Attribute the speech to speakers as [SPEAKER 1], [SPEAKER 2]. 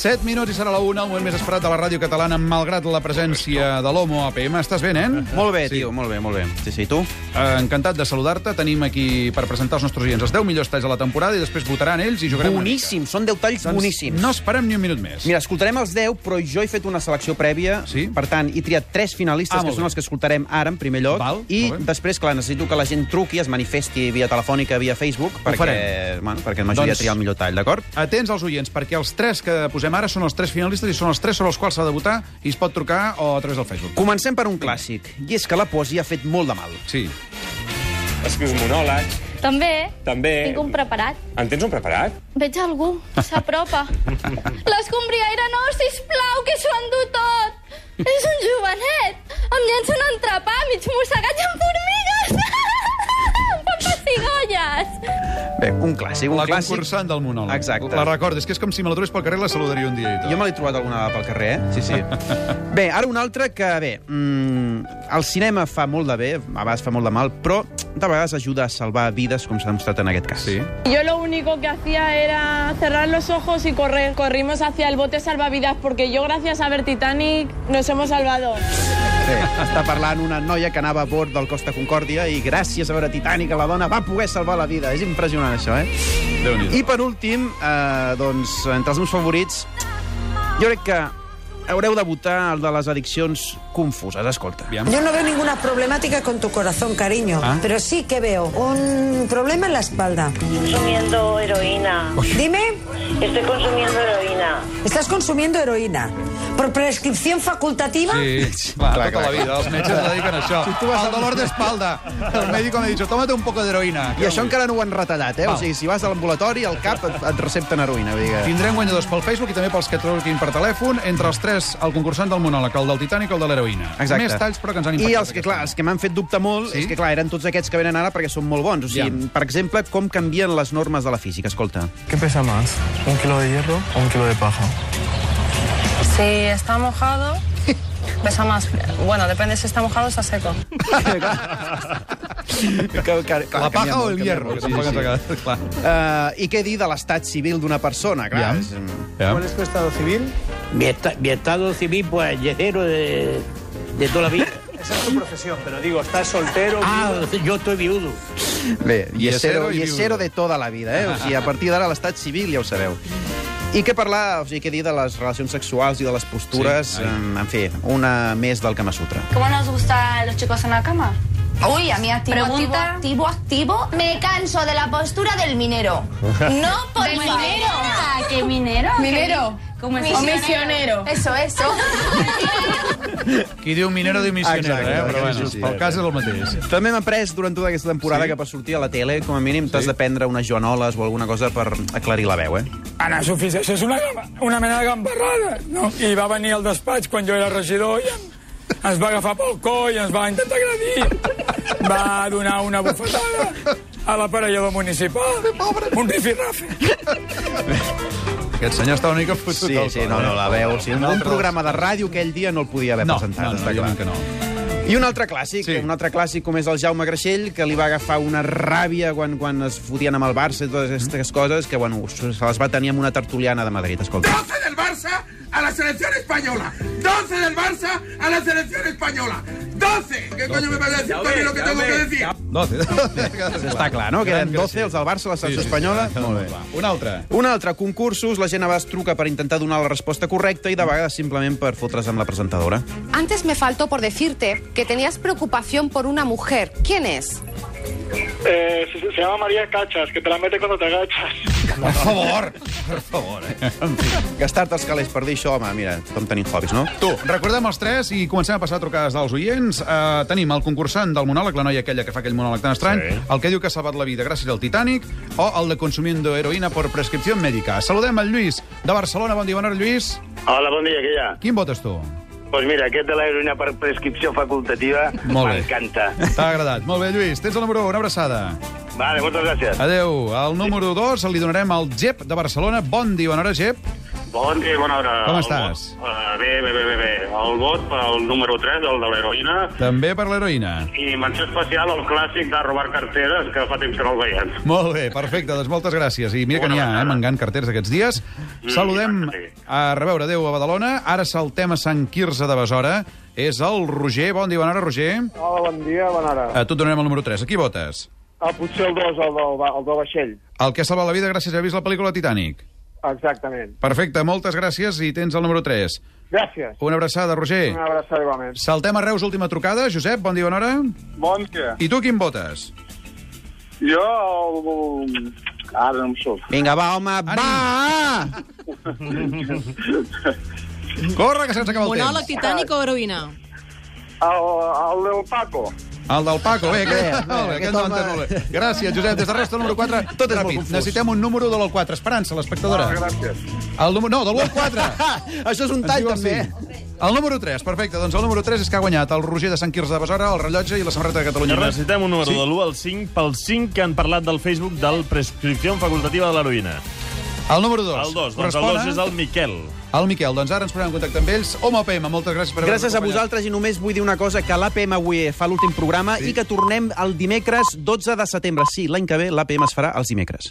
[SPEAKER 1] 7 minuts i serà la 1, el moment més esperat de la ràdio catalana, malgrat la presència de l'Homo APM. Estàs bé, nen?
[SPEAKER 2] Molt bé,
[SPEAKER 1] Sí.
[SPEAKER 2] tio, molt bé, molt bé. Sí, sí, i tu?
[SPEAKER 1] Eh, encantat de saludar-te. Tenim aquí per presentar els nostres oients els 10 millors talls de la temporada i després votaran ells i jugarem... una mica.
[SPEAKER 2] Boníssim, són 10 talls
[SPEAKER 1] Doncs
[SPEAKER 2] boníssims.
[SPEAKER 1] No esperem ni un minut més.
[SPEAKER 2] Mira, escoltarem els 10, però jo he fet una selecció prèvia.
[SPEAKER 1] Sí?
[SPEAKER 2] Per tant, he triat tres finalistes,
[SPEAKER 1] Ah,
[SPEAKER 2] que
[SPEAKER 1] molt
[SPEAKER 2] són
[SPEAKER 1] bé.
[SPEAKER 2] els que escoltarem ara, en primer lloc.
[SPEAKER 1] Val,
[SPEAKER 2] I
[SPEAKER 1] molt bé.
[SPEAKER 2] després, clar, necessito que la gent truqui, es manifesti via telefònica, via Facebook, perquè,
[SPEAKER 1] farem.
[SPEAKER 2] bueno, perquè la majoria
[SPEAKER 1] Doncs-
[SPEAKER 2] tria el millor tall, d'acord?
[SPEAKER 1] Atents als oients, perquè els tres que posem ara són els tres finalistes i són els tres sobre els quals s'ha de votar i es pot trucar o a través del Facebook.
[SPEAKER 2] Comencem per un clàssic, i és que la poesia ha fet molt de mal.
[SPEAKER 1] Sí.
[SPEAKER 3] Escrius monòlegs,
[SPEAKER 4] També.
[SPEAKER 3] també...
[SPEAKER 4] Tinc un preparat.
[SPEAKER 3] En tens un preparat?
[SPEAKER 4] Veig algú, s'apropa. L'escombriaire no, sisplau, que s'ho endú tot. És un jovenet. Em llença un entrepà mig mossegat i amb formigues. em fa pessigolles.
[SPEAKER 2] Bé, un clàssic, un
[SPEAKER 1] La
[SPEAKER 2] clàssic.
[SPEAKER 1] concursant del monòleg.
[SPEAKER 2] Exacte.
[SPEAKER 1] La recordes, que és com si me la trobés pel carrer, la saludaria un dia i tot.
[SPEAKER 2] Jo me l'he trobat alguna vegada pel carrer, eh? Sí, sí. bé, ara un altre que, bé, mm, el cinema fa molt de bé, a vegades fa molt de mal, però de vegades ajuda a salvar vides, com s'ha demostrat en aquest cas.
[SPEAKER 1] Sí.
[SPEAKER 5] Yo lo único que hacía era cerrar los ojos y correr. Corrimos hacia el bote salvavidas porque yo gracias a ver Titanic nos hemos salvado.
[SPEAKER 2] Bé, està parlant una noia que anava a bord del Costa Concòrdia i gràcies a veure Titanic la dona va poder salvar la vida. És impressionant, això, eh?
[SPEAKER 1] Déu-n'hi-do.
[SPEAKER 2] I per últim, eh, doncs, entre els meus favorits, jo crec que haureu de votar el de les adiccions confuses. Escolta.
[SPEAKER 1] Aviam.
[SPEAKER 6] Yo no veo ninguna problemática con tu corazón, cariño,
[SPEAKER 1] Ah.
[SPEAKER 6] pero sí que veo un problema en la espalda.
[SPEAKER 7] consumiendo heroína.
[SPEAKER 6] Dime,
[SPEAKER 7] Estoy consumiendo heroína.
[SPEAKER 6] estás consumiendo heroína por prescripción facultativa.
[SPEAKER 1] Sí, clar,
[SPEAKER 2] Clar,
[SPEAKER 1] tota
[SPEAKER 2] clar,
[SPEAKER 1] la vida.
[SPEAKER 2] clar.
[SPEAKER 1] Els metges dediquen a això.
[SPEAKER 2] Si tu vas
[SPEAKER 1] El
[SPEAKER 2] al-
[SPEAKER 1] dolor d'espalda. El médico m'ha dit, tómate un poco de heroïna.
[SPEAKER 2] I això encara no ho han retallat, eh?
[SPEAKER 1] Val.
[SPEAKER 2] O sigui, si vas a l'ambulatori, al cap et, et recepten heroïna. Vull dir que...
[SPEAKER 1] Tindrem guanyadors pel Facebook i també pels que truquin per telèfon. Entre els tres, el concursant del monòleg, el del Titanic o el de l'heroïna.
[SPEAKER 2] Exacte.
[SPEAKER 1] Més talls, però que ens han impactat.
[SPEAKER 2] I els que,
[SPEAKER 1] aquesta
[SPEAKER 2] clar, els que m'han fet dubtar molt
[SPEAKER 1] Sí?
[SPEAKER 2] sí? és que, clar, eren tots aquests que venen ara perquè són molt bons. O sigui,
[SPEAKER 1] Ja.
[SPEAKER 2] per exemple, com canvien les normes de la física. Escolta.
[SPEAKER 8] ¿Qué pesa más? ¿Un kilo de hierro o un kilo de paja?
[SPEAKER 9] Si está mojado, pesa más. Bueno, depende si está mojado o está seco.
[SPEAKER 2] Que- que- clar,
[SPEAKER 1] La
[SPEAKER 2] canvia
[SPEAKER 1] paja o
[SPEAKER 2] molt,
[SPEAKER 1] el
[SPEAKER 2] canvia
[SPEAKER 1] hierro,
[SPEAKER 2] molt,
[SPEAKER 1] que
[SPEAKER 2] sí,
[SPEAKER 1] tampoc
[SPEAKER 2] sí.
[SPEAKER 1] ens ha quedat clar.
[SPEAKER 2] Eh, I què dir de l'estat civil d'una persona? Clar,
[SPEAKER 1] Ja.
[SPEAKER 2] és, mm,
[SPEAKER 1] Ja.
[SPEAKER 8] es tu estado civil?
[SPEAKER 10] Mi, esta- mi estado civil, pues, yesero de, de toda la vida.
[SPEAKER 8] Esa es tu profesión, pero digo, ¿estás soltero?
[SPEAKER 10] Ah, yo estoy viudo.
[SPEAKER 2] Bé, i és
[SPEAKER 1] Yesero
[SPEAKER 2] zero,
[SPEAKER 1] i
[SPEAKER 2] i és zero
[SPEAKER 1] viudo.
[SPEAKER 2] de tota la vida, eh? O sigui, a partir d'ara l'estat civil ja ho sabeu. I què parlar, o sigui, què dir de les relacions sexuals i de les postures,
[SPEAKER 1] Sí,
[SPEAKER 2] sí,
[SPEAKER 1] ai.
[SPEAKER 2] en fi, una més del Kama Sutra.
[SPEAKER 7] ¿Cómo nos gustan los chicos en la cama? Uy, a mí activo,
[SPEAKER 9] Pregunta.
[SPEAKER 7] activo, activo, activo. Me canso de la postura del minero. No, por
[SPEAKER 9] Del
[SPEAKER 7] favor.
[SPEAKER 9] minero.
[SPEAKER 7] Ah, ¿Qué minero?
[SPEAKER 5] Minero.
[SPEAKER 7] Como
[SPEAKER 5] es? O misionero.
[SPEAKER 7] Eso, eso.
[SPEAKER 1] Qui diu minero diu missionero,
[SPEAKER 2] Exacte,
[SPEAKER 1] eh? Però
[SPEAKER 2] sí,
[SPEAKER 1] bueno,
[SPEAKER 2] sí, sí.
[SPEAKER 1] pel cas és el mateix.
[SPEAKER 2] També m'ha après durant tota aquesta temporada
[SPEAKER 1] Sí?
[SPEAKER 2] sí? que per sortir a la tele, com a mínim, t'has de prendre unes joanoles o alguna cosa per aclarir la veu, eh?
[SPEAKER 8] Ana, suficiente. Eso es una, una mena de gambarrada, no? I va venir al despatx quan jo era regidor i em, ens va agafar pel coll, ens va intentar agredir, va donar una bufetada a l'aparellador municipal. Un rifirrafe.
[SPEAKER 1] Aquest senyor està una mica fotut.
[SPEAKER 2] Sí,
[SPEAKER 1] del
[SPEAKER 2] sí,
[SPEAKER 1] cor,
[SPEAKER 2] no,
[SPEAKER 1] eh?
[SPEAKER 2] no, la veu. Sí, un,
[SPEAKER 1] altre
[SPEAKER 2] un
[SPEAKER 1] dels-
[SPEAKER 2] programa de ràdio aquell dia no el podia haver
[SPEAKER 1] No,
[SPEAKER 2] presentat,
[SPEAKER 1] no, no,
[SPEAKER 2] està clar.
[SPEAKER 1] evidentment que no.
[SPEAKER 2] I un altre clàssic,
[SPEAKER 1] Sí.
[SPEAKER 2] sí. un altre clàssic com és el Jaume Greixell, que li va agafar una ràbia quan, quan es fotien amb el Barça i totes aquestes coses, que bueno, se les va tenir amb una tertuliana de Madrid, escolta.
[SPEAKER 10] 12 del Barça a la selección española. 12 del Barça a la selección española. 12. ¿Qué coño me vas a decir? Tony, lo que tengo que decir.
[SPEAKER 1] 12.
[SPEAKER 2] Està clar, no? Que eren 12 els del Barça, la selecció espanyola. Molt bé.
[SPEAKER 1] Un altre.
[SPEAKER 2] Un altre, concursos, la gent a vegades truca per intentar donar la resposta correcta i de vegades simplement per fotre's amb la presentadora.
[SPEAKER 7] Antes me faltó por decirte que tenías preocupación por una mujer. ¿Quién es?
[SPEAKER 8] Eh, se, llama María Cachas, que te la mete cuando te agachas.
[SPEAKER 1] Per favor, per favor. Eh?
[SPEAKER 2] Gastar-te els calés per dir això, home, mira, tothom tenim hobbies, no?
[SPEAKER 1] Tu, recordem els tres i comencem a passar trucades dels oients. Uh, tenim el concursant del monòleg, la noia aquella que fa aquell monòleg tan estrany, sí. el que diu que ha salvat la vida gràcies al Titanic, o el de consumiendo heroïna por prescripció mèdica. Saludem el Lluís, de Barcelona. Bon dia, bona hora, Lluís.
[SPEAKER 10] Hola, bon dia, què hi ha?
[SPEAKER 1] Quin votes tu?
[SPEAKER 10] Doncs mira, aquest de l'heroïna per prescripció facultativa
[SPEAKER 1] Molt bé.
[SPEAKER 10] m'encanta.
[SPEAKER 1] T'ha agradat. Molt bé, Lluís. Tens el número 1, una abraçada.
[SPEAKER 10] Vale, moltes gràcies.
[SPEAKER 1] Adeu. Al número 2 li donarem al Gep, de Barcelona. Bon dia, bona hora, Gep.
[SPEAKER 7] Bon dia i bona
[SPEAKER 10] Ah,
[SPEAKER 7] hora.
[SPEAKER 1] Com
[SPEAKER 7] El
[SPEAKER 1] estàs?
[SPEAKER 7] vot, eh, bé, bé, bé, bé, bé. El vot pel número 3, el de l'heroïna,
[SPEAKER 1] També per l'heroïna.
[SPEAKER 7] i menció especial el clàssic de robar carteres, que fa temps que no el veiem.
[SPEAKER 1] Molt bé, perfecte, doncs moltes gràcies. I mira que n'hi ha, eh, mengant carters aquests dies. Saludem a Reveure Déu a Badalona. Ara saltem a Sant Quirze de Besora. És el Roger. Bon dia, bona hora, Roger.
[SPEAKER 11] Hola, bon dia, bona hora.
[SPEAKER 1] A tu et donarem el número 3. A qui votes?
[SPEAKER 11] Ah, potser el 2, el del, va- el del vaixell.
[SPEAKER 1] El que ha salvat la vida gràcies a haver vist la pel·lícula Titanic.
[SPEAKER 11] Exactament.
[SPEAKER 1] Perfecte, moltes gràcies i tens el número 3.
[SPEAKER 11] Gràcies.
[SPEAKER 1] Una abraçada, Roger.
[SPEAKER 11] Una abraçada igualment.
[SPEAKER 1] Saltem a Reus, última trucada. Josep, bon dia, bona hora.
[SPEAKER 8] Bon dia.
[SPEAKER 1] I tu quin votes?
[SPEAKER 8] Jo... el- Ara no em surt.
[SPEAKER 2] Vinga, va, home, va!
[SPEAKER 1] Corre, que se'ns acaba el
[SPEAKER 5] Monòleg
[SPEAKER 1] temps.
[SPEAKER 5] titànic o heroïna?
[SPEAKER 8] El, el del Paco.
[SPEAKER 1] El del Paco, eh, bé,
[SPEAKER 8] Bé,
[SPEAKER 1] aquest,
[SPEAKER 8] bé,
[SPEAKER 1] molt bé,
[SPEAKER 8] aquest
[SPEAKER 1] aquest no
[SPEAKER 8] home-
[SPEAKER 1] entès molt bé. Gràcies, Josep. Des de resta, número 4. Tot és Ràpid, necessitem un número de l'1-4. Esperança, l'espectadora.
[SPEAKER 8] Ah, gràcies.
[SPEAKER 1] El número... No, de l'1-4.
[SPEAKER 2] Això és un
[SPEAKER 1] Ens
[SPEAKER 2] tall,
[SPEAKER 1] diu el
[SPEAKER 2] també.
[SPEAKER 1] sí. El número 3, perfecte. Doncs el número 3 és que ha guanyat el Roger de Sant Quirze de Besora, el rellotge i la samarreta de Catalunya.
[SPEAKER 10] I necessitem un número
[SPEAKER 1] Sí?
[SPEAKER 10] de l'1 al 5 pels 5 que han parlat del Facebook del prescripció facultativa de l'heroïna.
[SPEAKER 1] El número 2.
[SPEAKER 10] El 2, doncs
[SPEAKER 1] Correspon
[SPEAKER 10] el
[SPEAKER 1] a-
[SPEAKER 10] 2 és el Miquel.
[SPEAKER 1] El Miquel, doncs ara ens posem en contacte amb ells. Home PM, moltes gràcies per haver-nos
[SPEAKER 2] Gràcies a
[SPEAKER 1] acompanyat.
[SPEAKER 2] vosaltres i només vull dir una cosa, que l'APM avui eh, fa l'últim programa
[SPEAKER 1] Sí.
[SPEAKER 2] i que tornem el dimecres 12 de setembre. Sí, l'any que ve l'APM es farà els dimecres.